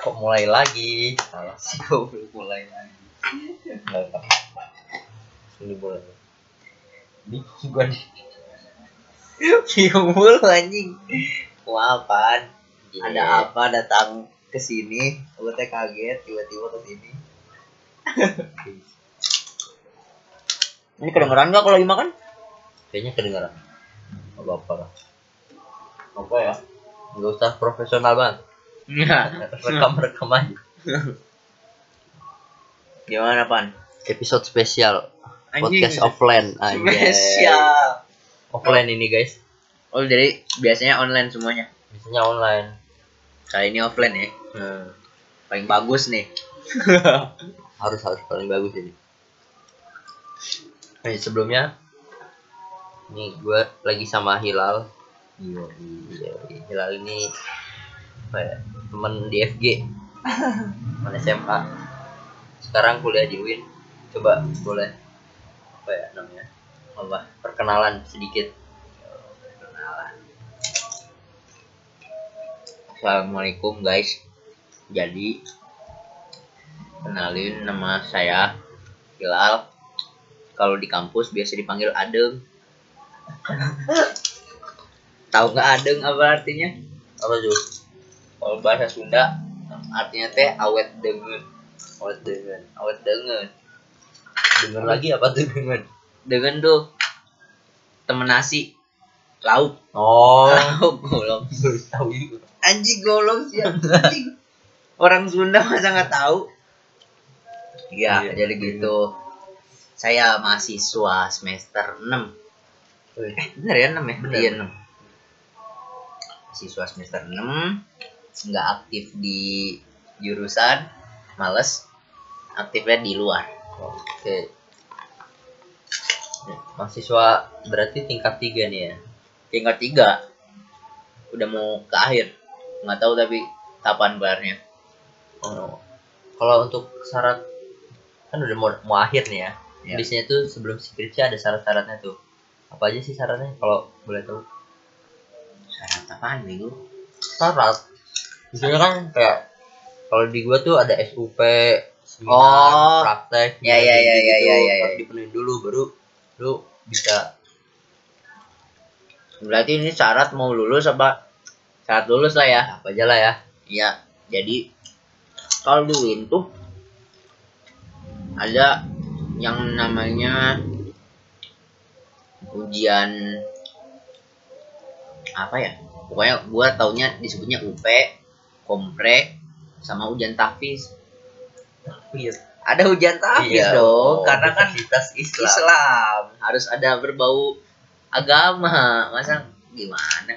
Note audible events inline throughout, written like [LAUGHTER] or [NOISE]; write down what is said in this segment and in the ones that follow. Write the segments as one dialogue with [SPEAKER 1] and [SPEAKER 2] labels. [SPEAKER 1] kok mulai lagi salah sih kok belum mulai lagi nggak apa ini mulai bikin gua di Kiumul anjing Wah apaan Ada apa datang ke sini Gue teh kaget tiba-tiba ke sini
[SPEAKER 2] Ini kedengeran nggak kalau dimakan?
[SPEAKER 1] Kayaknya kedengeran Gak apa-apa lah.
[SPEAKER 2] Apa ya?
[SPEAKER 1] Nggak usah profesional banget Iya. Rekam-rekam aja
[SPEAKER 2] Gimana pan?
[SPEAKER 1] Episode spesial Podcast offline aja
[SPEAKER 2] Spesial.
[SPEAKER 1] Offline ini guys
[SPEAKER 2] Oh jadi biasanya online semuanya.
[SPEAKER 1] Biasanya online
[SPEAKER 2] Kali ini offline ya.
[SPEAKER 1] Hmm.
[SPEAKER 2] Paling bagus nih.
[SPEAKER 1] harus harus paling bagus ini. Eh sebelumnya ini gue lagi sama Hilal. Iya, iya, iya. Hilal ini apa ya, teman di FG, teman SMA. Sekarang kuliah di UIN. Coba boleh apa ya namanya? Apa perkenalan sedikit.
[SPEAKER 2] Assalamualaikum guys. Jadi kenalin nama saya Hilal. Kalau di kampus biasa dipanggil Adeng. Tahu nggak Adeng apa artinya?
[SPEAKER 1] Apa tuh?
[SPEAKER 2] Kalau bahasa Sunda artinya teh awet dengen.
[SPEAKER 1] Oh, dengan
[SPEAKER 2] Awet dengen.
[SPEAKER 1] dengan lagi apa tuh dengan?
[SPEAKER 2] Dengen tuh temen nasi lauk.
[SPEAKER 1] Oh,
[SPEAKER 2] [LAUGHS] Lauk golong.
[SPEAKER 1] [LAUGHS] baru tahu itu.
[SPEAKER 2] Anjing golong sih anjing. Orang Sunda masa nggak tahu?
[SPEAKER 1] Iya,
[SPEAKER 2] Iya, jadi
[SPEAKER 1] iya.
[SPEAKER 2] gitu. Saya mahasiswa semester 6.
[SPEAKER 1] Wih,
[SPEAKER 2] Eh, bener ya 6 ya?
[SPEAKER 1] Bener.
[SPEAKER 2] Iya 6. Mahasiswa semester 6 nggak aktif di jurusan, males aktifnya di luar.
[SPEAKER 1] Oke. Mahasiswa berarti tingkat tiga nih ya.
[SPEAKER 2] tingkat tiga udah mau ke akhir nggak tahu tapi kapan barnya
[SPEAKER 1] Oh. Kalau untuk syarat kan udah mau, mau akhir nih ya.
[SPEAKER 2] Iya.
[SPEAKER 1] Biasanya tuh sebelum skripsi ada syarat-syaratnya tuh. Apa aja sih syaratnya kalau boleh tahu?
[SPEAKER 2] syarat apaan nih lu
[SPEAKER 1] Syarat. Biasanya kan kayak kalau di gua tuh ada SUP, seminar,
[SPEAKER 2] Oh.
[SPEAKER 1] praktek,
[SPEAKER 2] Ya, ya, ya, ya, ya, ya, ya.
[SPEAKER 1] harus dipenuhi dulu baru lu bisa
[SPEAKER 2] berarti ini syarat mau lulus apa syarat lulus lah ya
[SPEAKER 1] apa aja lah ya.
[SPEAKER 2] iya jadi kalau di Win tuh ada yang namanya ujian apa ya pokoknya gua taunya disebutnya UP kompre sama ujian tahfiz ada hujan tahfiz
[SPEAKER 1] Iya,
[SPEAKER 2] Iya. dong
[SPEAKER 1] oh,
[SPEAKER 2] karena kan Islam.
[SPEAKER 1] Islam.
[SPEAKER 2] harus ada berbau agama masa gimana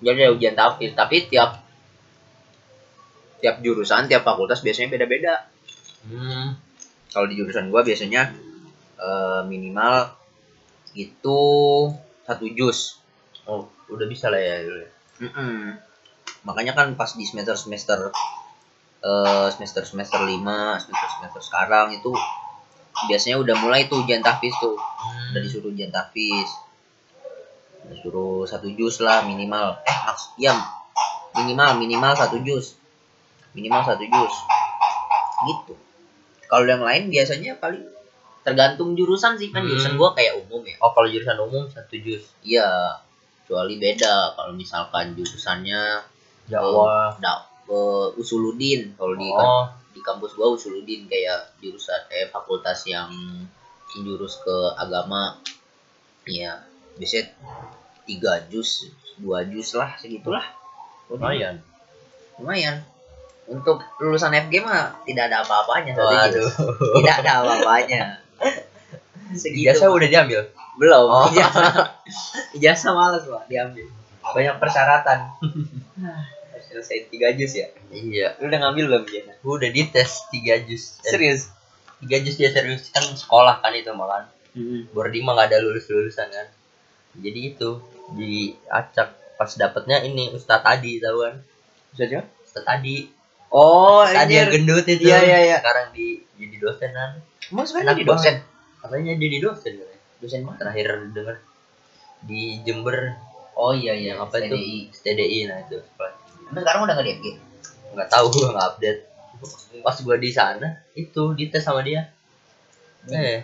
[SPEAKER 2] jadi ada hujan tahfiz tapi tiap tiap jurusan tiap fakultas biasanya beda-beda
[SPEAKER 1] Hmm.
[SPEAKER 2] kalau di jurusan gua biasanya eh, minimal itu satu juz
[SPEAKER 1] Oh, udah bisa lah ya dulu. ya.
[SPEAKER 2] Mm-mm. makanya kan pas di semester semester eh, semester semester lima semester semester sekarang itu biasanya udah mulai tuh hujan tahfiz tuh udah
[SPEAKER 1] Dari
[SPEAKER 2] disuruh ujian tahfiz disuruh satu jus lah minimal eh maks iya minimal minimal satu jus minimal satu jus gitu kalau yang lain biasanya paling tergantung jurusan sih kan
[SPEAKER 1] Hmm.
[SPEAKER 2] jurusan gua kayak umum ya
[SPEAKER 1] Oh kalau jurusan umum satu jus
[SPEAKER 2] iya kecuali beda kalau misalkan jurusannya
[SPEAKER 1] Jawa.
[SPEAKER 2] da- eh, usuludin kalau di
[SPEAKER 1] Oh di kampus gua usuludin kayak jurusan eh fakultas yang jurus ke agama ya biasanya tiga jus dua jus lah segitulah
[SPEAKER 2] lumayan
[SPEAKER 1] lumayan untuk lulusan FG mah tidak ada apa-apanya satu jus.
[SPEAKER 2] [LAUGHS] waduh
[SPEAKER 1] tidak ada
[SPEAKER 2] [LAUGHS]
[SPEAKER 1] apa-apanya segitu
[SPEAKER 2] ijazah udah diambil
[SPEAKER 1] belum
[SPEAKER 2] [LAUGHS] Oh.
[SPEAKER 1] ijazah ijazah males pak diambil
[SPEAKER 2] banyak persyaratan
[SPEAKER 1] [LAUGHS]
[SPEAKER 2] harus selesai tiga jus ya
[SPEAKER 1] iya
[SPEAKER 2] lu udah ngambil belum ijazah
[SPEAKER 1] gua udah dites tiga jus Eh,
[SPEAKER 2] serius
[SPEAKER 1] tiga jus dia serius kan sekolah kan itu makan Bordi mah nggak ada lulus lulusan kan jadi itu diacak pas dapetnya ini Ustadz Adi tahu kan
[SPEAKER 2] bisa coba
[SPEAKER 1] Ustadz Adi
[SPEAKER 2] oh
[SPEAKER 1] Ustadz Adi yang
[SPEAKER 2] anjir
[SPEAKER 1] gendut itu
[SPEAKER 2] Iya, iya, iya.
[SPEAKER 1] sekarang di jadi dosen kan Enak
[SPEAKER 2] emang sekarang jadi
[SPEAKER 1] banget.
[SPEAKER 2] dosen
[SPEAKER 1] katanya jadi dosen katanya.
[SPEAKER 2] dosen mana
[SPEAKER 1] terakhir dengar di Jember
[SPEAKER 2] oh iya
[SPEAKER 1] yang apa itu STDI nah itu
[SPEAKER 2] emang sekarang udah nggak di FG
[SPEAKER 1] nggak tahu [LAUGHS] gua nggak update pas gua di sana itu dites sama dia
[SPEAKER 2] Hmm.
[SPEAKER 1] eh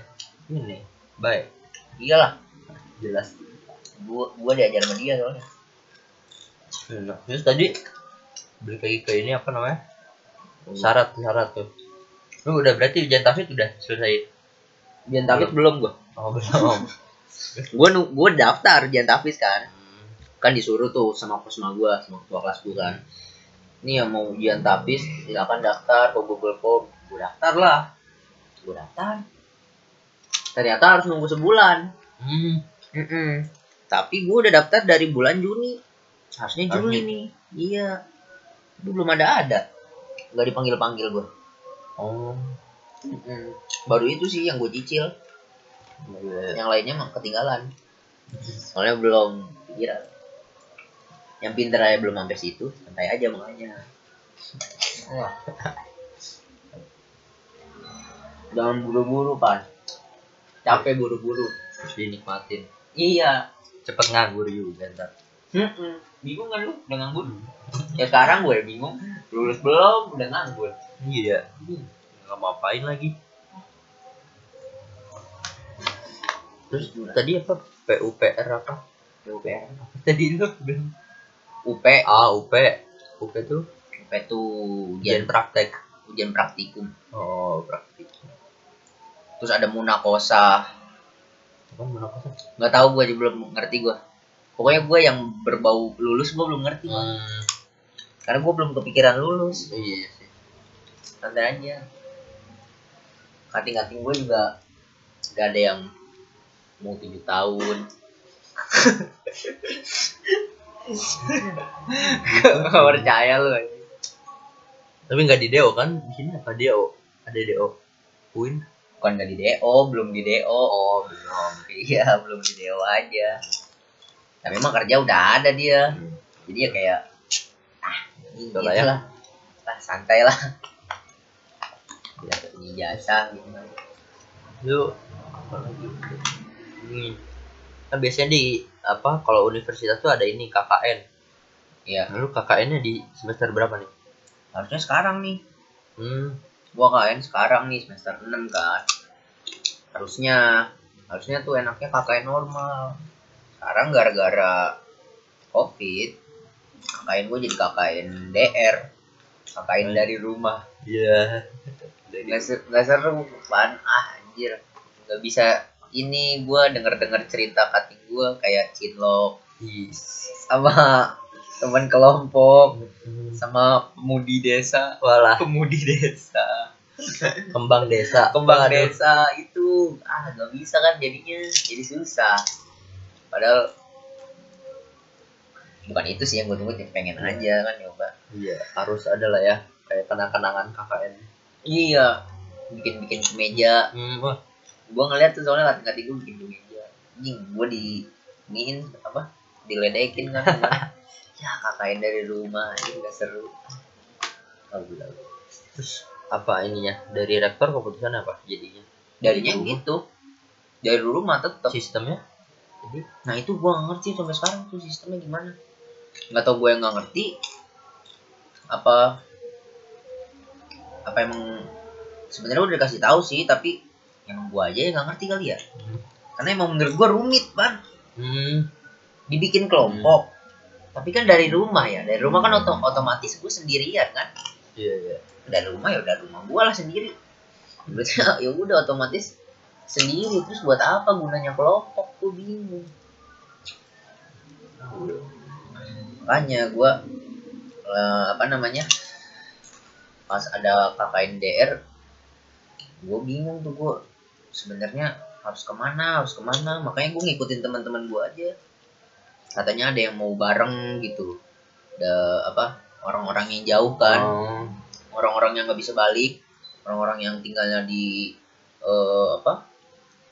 [SPEAKER 1] ini baik
[SPEAKER 2] iyalah
[SPEAKER 1] jelas
[SPEAKER 2] gua gua diajar sama dia soalnya
[SPEAKER 1] Nah, terus tadi balik lagi ke ini apa namanya syarat syarat tuh lu udah berarti ujian tafid udah selesai
[SPEAKER 2] ujian tafid belum gua
[SPEAKER 1] oh [LAUGHS] belum
[SPEAKER 2] gua nu- gua daftar ujian tafid kan kan disuruh tuh sama kosma gua sama ketua kelas gua kan ini yang mau ujian tapis silakan daftar ke Google Form gua daftar lah gua daftar ternyata harus nunggu sebulan
[SPEAKER 1] hmm.
[SPEAKER 2] Mm-mm. tapi gua udah daftar dari bulan Juni harusnya Juli
[SPEAKER 1] Harusnya.
[SPEAKER 2] nih iya Itu belum ada ada nggak dipanggil panggil gua
[SPEAKER 1] oh
[SPEAKER 2] Mm-mm. baru itu sih yang gua cicil
[SPEAKER 1] iya.
[SPEAKER 2] yang lainnya mah ketinggalan soalnya belum pikiran yang pinter aja belum sampai situ santai aja makanya Wah. jangan buru-buru pan capek buru-buru
[SPEAKER 1] terus dinikmatin
[SPEAKER 2] iya
[SPEAKER 1] cepet nganggur juga ntar
[SPEAKER 2] Mm-mm. bingung kan lu udah nganggur ya sekarang gue bingung lulus belum udah nganggur
[SPEAKER 1] iya nggak mau ngapain lagi terus tadi apa PUPR apa
[SPEAKER 2] UPR
[SPEAKER 1] [LAUGHS] tadi lu bilang
[SPEAKER 2] UP
[SPEAKER 1] ah UP UP tuh
[SPEAKER 2] UP tuh
[SPEAKER 1] ujian
[SPEAKER 2] ujian
[SPEAKER 1] praktek
[SPEAKER 2] ujian praktikum
[SPEAKER 1] oh praktek
[SPEAKER 2] terus ada munakosa
[SPEAKER 1] apa menapa sih
[SPEAKER 2] nggak tahu gue aja belum ngerti gue pokoknya gue yang berbau lulus gue belum ngerti
[SPEAKER 1] hmm,
[SPEAKER 2] karena gue belum kepikiran lulus
[SPEAKER 1] iya sih
[SPEAKER 2] santai aja kating-kating gue juga gak ada yang mau tujuh tahun gak percaya lu ya. anjing.
[SPEAKER 1] tapi nggak di Deo kan di sini apa Deo ada Deo Uin
[SPEAKER 2] bukan gak di DO belum di DO oh belum iya [LAUGHS] belum di DO aja tapi emang kerja udah ada dia jadi ya kayak ah ini
[SPEAKER 1] Udah
[SPEAKER 2] gitu
[SPEAKER 1] layak.
[SPEAKER 2] lah lah santai lah ya ijazah gitu
[SPEAKER 1] lu apa lagi ini kan biasanya di apa kalau universitas tuh ada ini KKN
[SPEAKER 2] iya
[SPEAKER 1] lalu KKN nya di semester berapa nih
[SPEAKER 2] harusnya sekarang nih
[SPEAKER 1] hmm
[SPEAKER 2] gua KKN sekarang nih semester 6 kan harusnya harusnya tuh enaknya KKN normal sekarang gara-gara covid KKN gua jadi KKN DR KKN
[SPEAKER 1] Hmm.
[SPEAKER 2] dari rumah
[SPEAKER 1] iya
[SPEAKER 2] nggak se- nggak seru pan ah anjir nggak bisa ini gua denger-denger cerita kating gua kayak cinlok sama teman kelompok sama pemudi desa
[SPEAKER 1] walah
[SPEAKER 2] pemudi desa
[SPEAKER 1] kembang desa
[SPEAKER 2] kembang
[SPEAKER 1] Waduh.
[SPEAKER 2] desa itu ah nggak bisa kan jadinya jadi susah padahal bukan itu sih yang gue tunggu jadi pengen aja kan nyoba
[SPEAKER 1] iya harus ada lah ya kayak kenang-kenangan KKN
[SPEAKER 2] iya bikin bikin kemeja
[SPEAKER 1] hmm, wah
[SPEAKER 2] gue ngeliat tuh soalnya latihan gue bikin kemeja anjing gue di iniin apa diledekin [LAUGHS] kan ya kakain dari rumah ini nggak seru Oh, gila.
[SPEAKER 1] terus apa ininya dari rektor keputusan apa jadinya
[SPEAKER 2] darinya gitu dari rumah tetep
[SPEAKER 1] sistemnya
[SPEAKER 2] Nah itu gua nggak ngerti sampai sekarang tuh sistemnya gimana. Nggak tau gua yang nggak ngerti apa apa emang sebenarnya udah dikasih tahu sih tapi emang gua aja yang nggak ngerti kali ya. Karena emang menurut gua rumit ban
[SPEAKER 1] hmm
[SPEAKER 2] dibikin kelompok. Tapi kan dari rumah ya, dari rumah kan oto- otomatis gua sendirian kan.
[SPEAKER 1] iya iya
[SPEAKER 2] udah rumah ya udah rumah gua lah sendiri berarti [LAUGHS] ya udah otomatis sendiri terus buat apa gunanya kelompok tuh bingung makanya gua eh, apa namanya pas ada KKN DR gua bingung tuh gua sebenarnya harus kemana harus kemana makanya gua ngikutin teman-teman gua aja katanya ada yang mau bareng gitu ada apa orang-orang yang jauh kan
[SPEAKER 1] Oh,
[SPEAKER 2] orang-orang yang nggak bisa balik, orang-orang yang tinggalnya di eh, apa?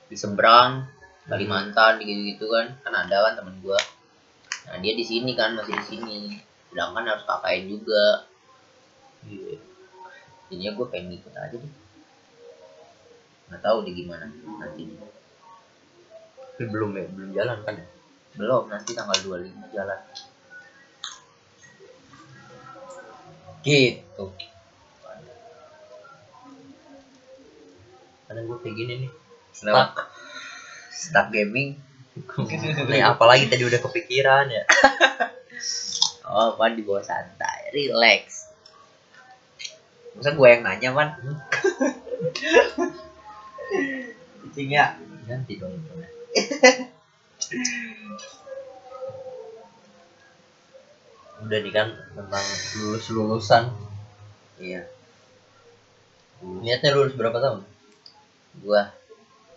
[SPEAKER 2] di seberang Kalimantan gitu-gitu kan. Kan ada kan temen gua. Nah, dia di sini kan masih di sini. Sedangkan harus KKN juga.
[SPEAKER 1] iya
[SPEAKER 2] Jadinya gua pengen ikut aja deh. Nggak tahu deh gimana nanti.
[SPEAKER 1] Tapi belum ya belum jalan kan ya
[SPEAKER 2] Belum, nanti tanggal 25 jalan. Gitu.
[SPEAKER 1] karena gue kayak gini nih
[SPEAKER 2] Kenapa? Stuck gaming.
[SPEAKER 1] nih apalagi tadi udah kepikiran ya
[SPEAKER 2] Oh, pan di bawah santai, relax. Masa gue yang nanya, pan? [LAUGHS] Kucing ya?
[SPEAKER 1] ganti dong infonya. udah nih kan tentang lulus lulusan
[SPEAKER 2] Iya.
[SPEAKER 1] niatnya lulus berapa tahun
[SPEAKER 2] Gua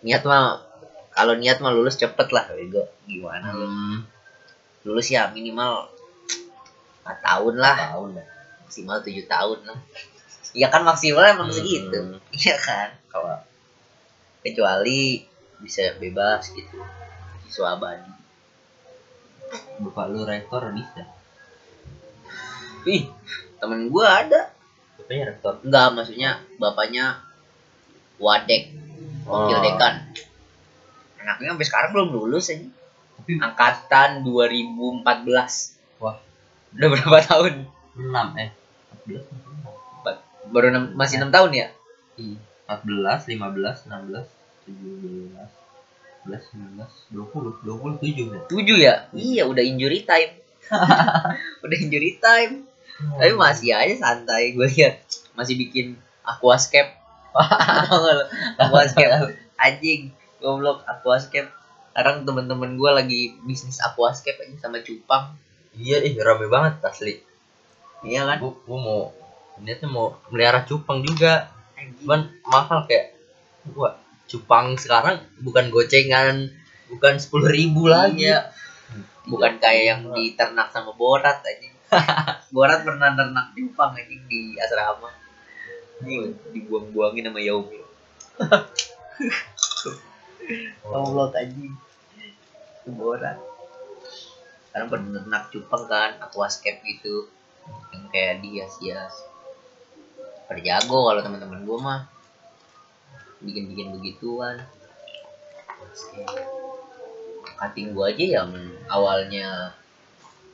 [SPEAKER 2] niat mah kalau niat mah lulus cepet lah, bego. Gimana lu? Lulus ya minimal 4 tahun lah,
[SPEAKER 1] tahun ya
[SPEAKER 2] maksimal 7 tahun lah. Iya kan maksimal emang
[SPEAKER 1] Hmm.
[SPEAKER 2] segitu. Iya kan? Kalau kecuali bisa bebas gitu. Siswa abadi.
[SPEAKER 1] bapak lu rektor bisa
[SPEAKER 2] Ih, temen gua ada
[SPEAKER 1] bapaknya rektor
[SPEAKER 2] Enggak, maksudnya bapaknya wadek, wakil
[SPEAKER 1] Oh.
[SPEAKER 2] dekan. Anaknya sampai sekarang belum lulus ini. Angkatan 2014.
[SPEAKER 1] Wah.
[SPEAKER 2] Udah berapa tahun?
[SPEAKER 1] enam eh
[SPEAKER 2] Baru enam- masih enam tahun ya?
[SPEAKER 1] Iya. 14, 15, 16, 17, 11, 19, 20, 27 ya.
[SPEAKER 2] 7 ya? Iya, udah injury time. [LAUGHS] udah injury time. Tapi masih aja santai gue lihat. Masih bikin [LAUGHS] aquascape. Tau nggak lo? aquascape anjing goblok aquascape sekarang temen-temen gue lagi bisnis aquascape aja sama cupang
[SPEAKER 1] Iya, ih rame banget asli.
[SPEAKER 2] Iya kan?
[SPEAKER 1] Gua, gua mau niatnya mau melihara cupang juga. Cuman mahal kayak gua cupang sekarang bukan gocengan, bukan 10.000 ribu lagi.
[SPEAKER 2] Iya. Bukan kayak yang diternak sama Borat aja. [LAUGHS] Borat pernah ternak cupang anjing di asrama. Ini dibuang-buangin sama Yaumi. Goblok anjing. Itu Borat. Sekarang peternak cupang kan, aquascape gitu. Yang kayak dihias-hias. Perjago kalau teman-teman gua mah bikin-bikin begituan. Aquascape. cutting gua aja yang awalnya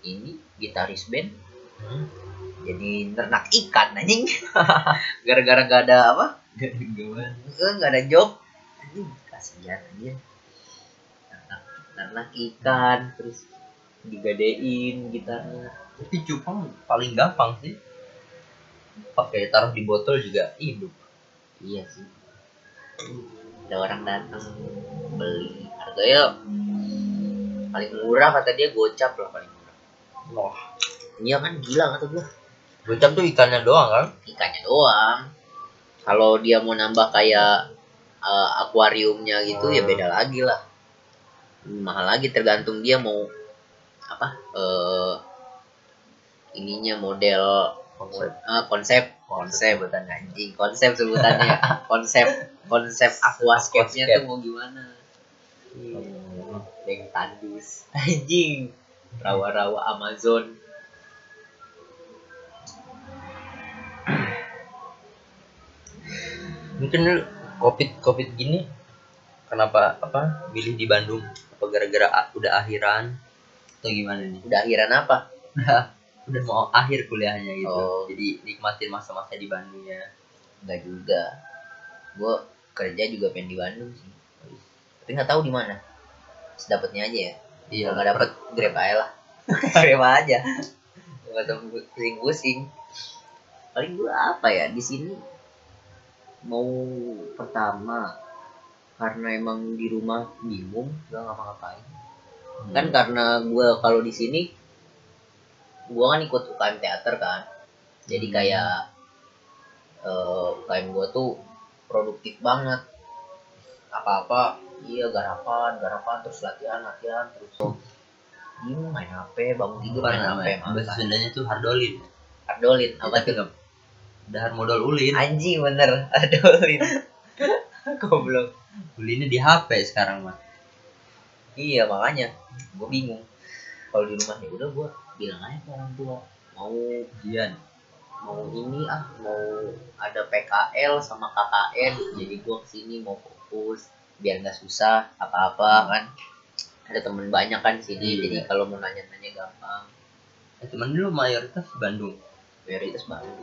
[SPEAKER 2] ini gitaris band
[SPEAKER 1] Hmm.
[SPEAKER 2] jadi ternak ikan anjing [LAUGHS] gara-gara gak ada apa
[SPEAKER 1] Gimana?
[SPEAKER 2] eh, gak ada job anjing kasihan aja ternak, ternak Nah, ikan terus digadein gitarnya
[SPEAKER 1] Tapi cupang paling gampang sih. Pakai taruh di botol juga hidup.
[SPEAKER 2] iya sih ada orang datang beli harganya paling murah kata dia gocap lah paling murah
[SPEAKER 1] Wah,
[SPEAKER 2] iya kan gila kata gua
[SPEAKER 1] gocap tuh ikannya doang kan?
[SPEAKER 2] ikannya doang. Kalau dia mau nambah kayak eh, akuariumnya gitu ya beda lagi lah. Mahal lagi tergantung dia mau apa eh ininya model
[SPEAKER 1] Konsep.
[SPEAKER 2] eh, konsep konsep bukan anjing konsep sebutannya konsep konsep aquascape-nya tuh mau gimana
[SPEAKER 1] Hmm.
[SPEAKER 2] yang tandus [LAUGHS] anjing rawa-rawa Amazon
[SPEAKER 1] mungkin lu covid covid gini kenapa apa milih di Bandung apa gara-gara a- udah akhiran atau gimana nih
[SPEAKER 2] udah akhiran apa
[SPEAKER 1] udah mau akhir kuliahnya gitu
[SPEAKER 2] Oh.
[SPEAKER 1] jadi nikmatin masa-masa di Bandung ya
[SPEAKER 2] Enggak juga. Gue kerja juga pengen di Bandung sih. Tapi nggak tahu di mana. Sedapatnya aja ya.
[SPEAKER 1] Iya. Kan
[SPEAKER 2] Kalau nggak dapet [LAUGHS] grab aja lah. grab aja. Nggak usah pusing-pusing. paling gue apa ya di sini mau pertama karena emang di rumah bingung gak ngapa-ngapain kan
[SPEAKER 1] kan
[SPEAKER 2] karena gue kalau di sini gue kan ikut UKM teater kan jadi
[SPEAKER 1] Hmm.
[SPEAKER 2] kayak eh, UKM gue tuh produktif banget apa-apa iya garapan garapan terus latihan latihan terus Iya, main HP, bangun tidur main
[SPEAKER 1] apa
[SPEAKER 2] HP,
[SPEAKER 1] namanya bahasa
[SPEAKER 2] makan.
[SPEAKER 1] Sundanya tuh hardolin
[SPEAKER 2] Adolin, apa
[SPEAKER 1] apa
[SPEAKER 2] tuh?
[SPEAKER 1] tuh dahar modal ulin
[SPEAKER 2] Anjing bener, [LAUGHS] adolin. Goblok.
[SPEAKER 1] ulinnya di HP sekarang mah
[SPEAKER 2] Iya makanya, gue bingung. Kalau di rumah ya udah gue bilang aja ke orang tua mau
[SPEAKER 1] ujian
[SPEAKER 2] mau ini ah mau ada PKL sama KKN jadi gua kesini mau fokus biar nggak susah apa-apa kan ada temen banyak kan di sini
[SPEAKER 1] Hmm. Iya.
[SPEAKER 2] jadi kalau mau nanya-nanya gampang
[SPEAKER 1] eh, cuman dulu mayoritas Bandung
[SPEAKER 2] prioritas Bandung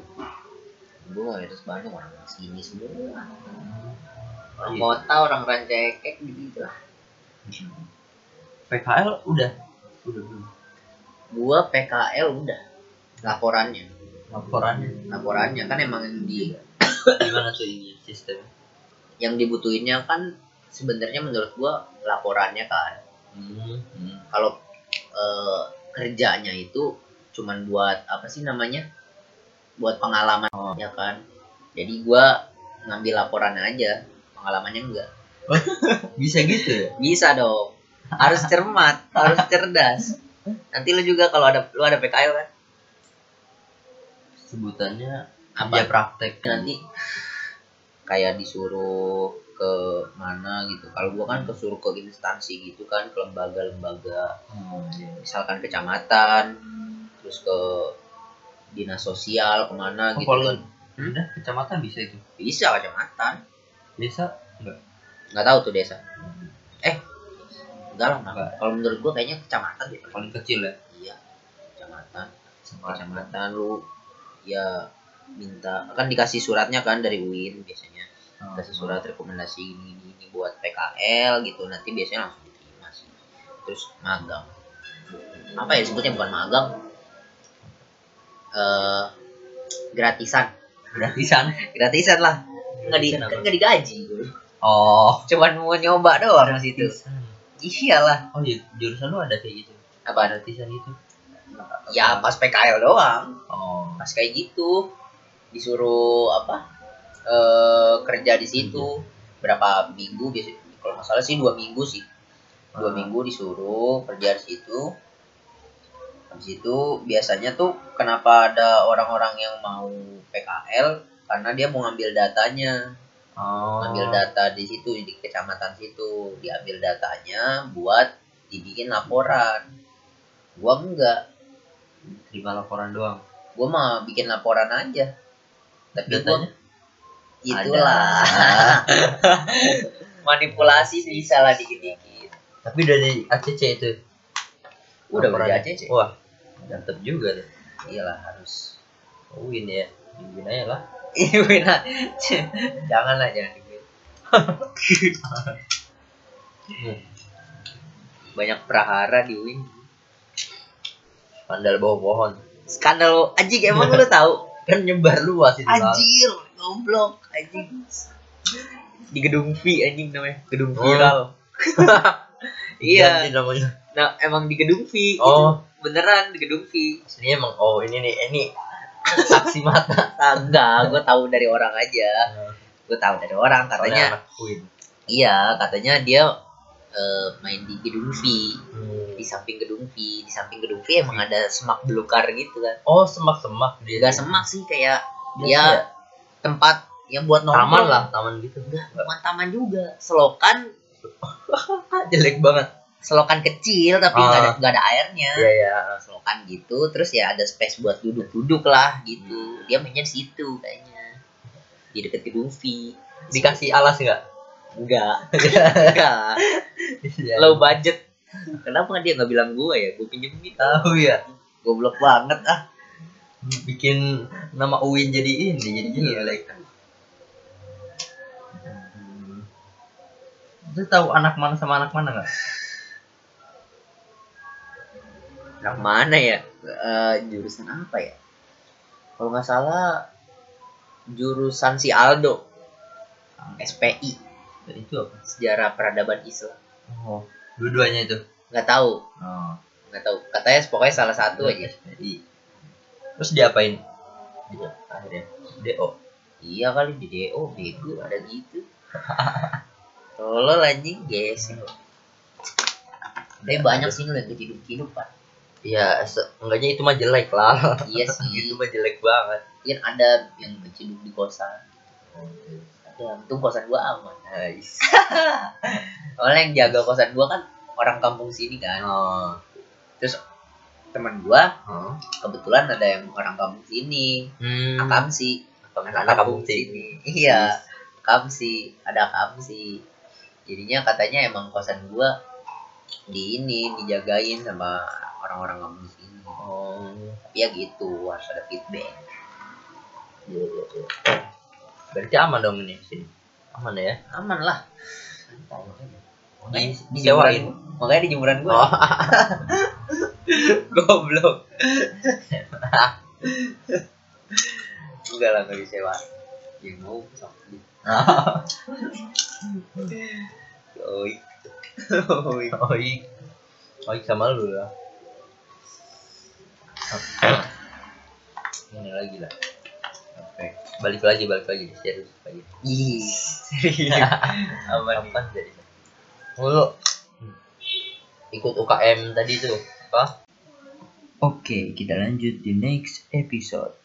[SPEAKER 2] gua mayoritas Bandung orang sini semua orang
[SPEAKER 1] Iya.
[SPEAKER 2] kota orang rancakek gitu lah
[SPEAKER 1] PKL udah udah belum
[SPEAKER 2] gua PKL udah laporannya
[SPEAKER 1] laporannya
[SPEAKER 2] laporannya kan emang di
[SPEAKER 1] gimana tuh ini sistem
[SPEAKER 2] yang dibutuhinnya kan sebenarnya menurut gua laporannya kan
[SPEAKER 1] hmm. hmm.
[SPEAKER 2] kalau eh, kerjanya itu cuman buat apa sih namanya buat pengalaman ya kan jadi gua ngambil laporan aja pengalamannya enggak
[SPEAKER 1] bisa gitu ya
[SPEAKER 2] bisa dong harus cermat harus cerdas nanti lu juga kalau ada lu ada PKL kan
[SPEAKER 1] sebutannya
[SPEAKER 2] Apa?
[SPEAKER 1] apa praktek
[SPEAKER 2] nanti kayak disuruh ke mana gitu kalau gua kan kesuruh ke instansi gitu kan ke lembaga-lembaga
[SPEAKER 1] Hmm, iya.
[SPEAKER 2] misalkan kecamatan terus ke dinas sosial kemana gitu
[SPEAKER 1] Kalau-
[SPEAKER 2] kan Hmm?
[SPEAKER 1] udah kecamatan bisa itu
[SPEAKER 2] bisa kecamatan
[SPEAKER 1] desa
[SPEAKER 2] nggak tahu tuh desa eh enggak lah Bang.
[SPEAKER 1] Enggak.
[SPEAKER 2] kalau menurut gua kayaknya kecamatan deh
[SPEAKER 1] paling kecil ya
[SPEAKER 2] iya kecamatan kecamatan lu ya minta kan dikasih suratnya kan dari UIN biasanya
[SPEAKER 1] Hmm.
[SPEAKER 2] dikasih surat rekomendasi ini ini, ini buat PKL gitu nanti biasanya langsung diterima sih terus magang apa ya sebutnya bukan magang eh gratisan
[SPEAKER 1] gratisan
[SPEAKER 2] gratisan lah nggak di
[SPEAKER 1] Gratisan
[SPEAKER 2] kan
[SPEAKER 1] apa?
[SPEAKER 2] nggak digaji
[SPEAKER 1] oh
[SPEAKER 2] cuman mau nyoba doang di situ iyalah
[SPEAKER 1] oh iya jurusan lu ada gitu. kayak gitu
[SPEAKER 2] apa ada
[SPEAKER 1] gratisan itu
[SPEAKER 2] ya pas PKL doang
[SPEAKER 1] oh
[SPEAKER 2] pas kayak gitu disuruh apa eh kerja di situ berapa minggu biasanya kalau nggak salah sih dua minggu sih dua
[SPEAKER 1] Hmm.
[SPEAKER 2] minggu disuruh kerja di situ habis itu biasanya tuh kenapa ada orang-orang yang mau PKL karena dia mau ngambil datanya
[SPEAKER 1] oh
[SPEAKER 2] ngambil data di situ di kecamatan situ diambil datanya buat dibikin laporan gua enggak
[SPEAKER 1] terima laporan doang
[SPEAKER 2] gua mah bikin laporan aja tapi
[SPEAKER 1] datanya
[SPEAKER 2] gua itulah
[SPEAKER 1] Ada.
[SPEAKER 2] [LAUGHS] manipulasi bisa lah dikit-dikit
[SPEAKER 1] tapi dari ACC itu
[SPEAKER 2] udah
[SPEAKER 1] laporan.
[SPEAKER 2] berarti aja
[SPEAKER 1] wah mantep juga tuh
[SPEAKER 2] iyalah harus
[SPEAKER 1] win ya win aja lah
[SPEAKER 2] Iwina Iya, nah. janganlah jangan dibikin
[SPEAKER 1] Hmm.
[SPEAKER 2] banyak prahara di Win
[SPEAKER 1] pandal bawah pohon
[SPEAKER 2] skandal anjing emang lu tahu
[SPEAKER 1] kan nyebar luas itu Bang.
[SPEAKER 2] [LAUGHS] Anjir, goblok, anjing. Di gedung V anjing namanya, gedung
[SPEAKER 1] Oh.
[SPEAKER 2] viral.
[SPEAKER 1] Ganti
[SPEAKER 2] iya,
[SPEAKER 1] namanya
[SPEAKER 2] nah emang di gedung V.
[SPEAKER 1] oh
[SPEAKER 2] itu beneran di gedung V.
[SPEAKER 1] aslinya emang oh ini nih ini saksi [LAUGHS] mata
[SPEAKER 2] Ah, enggak, gue tahu dari orang aja.
[SPEAKER 1] Nah,
[SPEAKER 2] Gue tahu dari orang
[SPEAKER 1] Soalnya
[SPEAKER 2] katanya.
[SPEAKER 1] anak win
[SPEAKER 2] Iya, katanya dia eh, main di gedung V.
[SPEAKER 1] Hmm.
[SPEAKER 2] Di samping gedung V, di samping gedung V emang ada semak belukar gitu kan.
[SPEAKER 1] oh semak semak dia
[SPEAKER 2] Enggak semak sih kayak
[SPEAKER 1] Biasa
[SPEAKER 2] ya tempat yang buat nongkrong.
[SPEAKER 1] Iya. taman lah taman gitu
[SPEAKER 2] Enggak, bukan taman juga. Selokan
[SPEAKER 1] jelek banget
[SPEAKER 2] selokan kecil tapi nggak ada nggak ada airnya
[SPEAKER 1] iya ya
[SPEAKER 2] selokan gitu terus ya ada space buat duduk-duduk lah gitu dia mainnya di situ kayaknya di deket gedung V
[SPEAKER 1] dikasih alas [LAUGHS] nggak
[SPEAKER 2] [LAUGHS] enggak enggak
[SPEAKER 1] Iya.
[SPEAKER 2] low budget kenapa dia nggak bilang gua ya gua pinjemin
[SPEAKER 1] tahu ya
[SPEAKER 2] goblok banget ah
[SPEAKER 1] bikin nama Uin jadi ini jadi jelek lu tahu anak mana sama anak mana nggak
[SPEAKER 2] anak mana ya Eh, jurusan apa ya kalau nggak salah jurusan si Aldo SPI
[SPEAKER 1] itu apa
[SPEAKER 2] sejarah peradaban Islam
[SPEAKER 1] oh dua-duanya itu
[SPEAKER 2] nggak tahu
[SPEAKER 1] oh
[SPEAKER 2] nggak tahu katanya pokoknya salah satu aja
[SPEAKER 1] SPI terus diapain dia akhirnya DO
[SPEAKER 2] iya kali di DO bego ada gitu [LAUGHS] tolol anjing guys tapi banyak sih lu yang ketidup kehidupan
[SPEAKER 1] ya se- enggaknya itu mah jelek lah [LAUGHS]
[SPEAKER 2] iya sih
[SPEAKER 1] itu mah jelek banget
[SPEAKER 2] mungkin ada yang keciduk di kosan ada untung kosan gua aman
[SPEAKER 1] Nice.
[SPEAKER 2] Soalnya yang jaga kosan gua kan orang kampung sini kan.
[SPEAKER 1] Oh.
[SPEAKER 2] Terus teman gua
[SPEAKER 1] Oh.
[SPEAKER 2] kebetulan ada yang orang kampung sini,
[SPEAKER 1] Hmm.
[SPEAKER 2] Ah, Akamsi.
[SPEAKER 1] Anak kampung sini.
[SPEAKER 2] Iya, Akamsi, ada Akamsi. Jadinya katanya emang kosan gua di ini dijagain sama orang-orang kampung sini.
[SPEAKER 1] Oh.
[SPEAKER 2] Tapi ya gitu, harus ada feedback.
[SPEAKER 1] Iya, iya, iya. Berarti aman dong ini sini. Aman ya.
[SPEAKER 2] Aman lah.
[SPEAKER 1] Di
[SPEAKER 2] Makanya di jemuran,
[SPEAKER 1] disewain.
[SPEAKER 2] makanya di jemuran gua.
[SPEAKER 1] Oh. [LAUGHS]
[SPEAKER 2] Goblok. Enggak lah enggak disewa. Ya mau sakit. Oi. Oi.
[SPEAKER 1] Oi. Oi iya. Oh, sama lu lah. Ini lagi lah. Oke. Balik lagi, balik lagi. Serius lagi.
[SPEAKER 2] Ih.
[SPEAKER 1] Aman. Kapan jadi? Mulu. Hmm. Ikut UKM tadi tuh. Apa?
[SPEAKER 2] Oke, kita lanjut di next episode.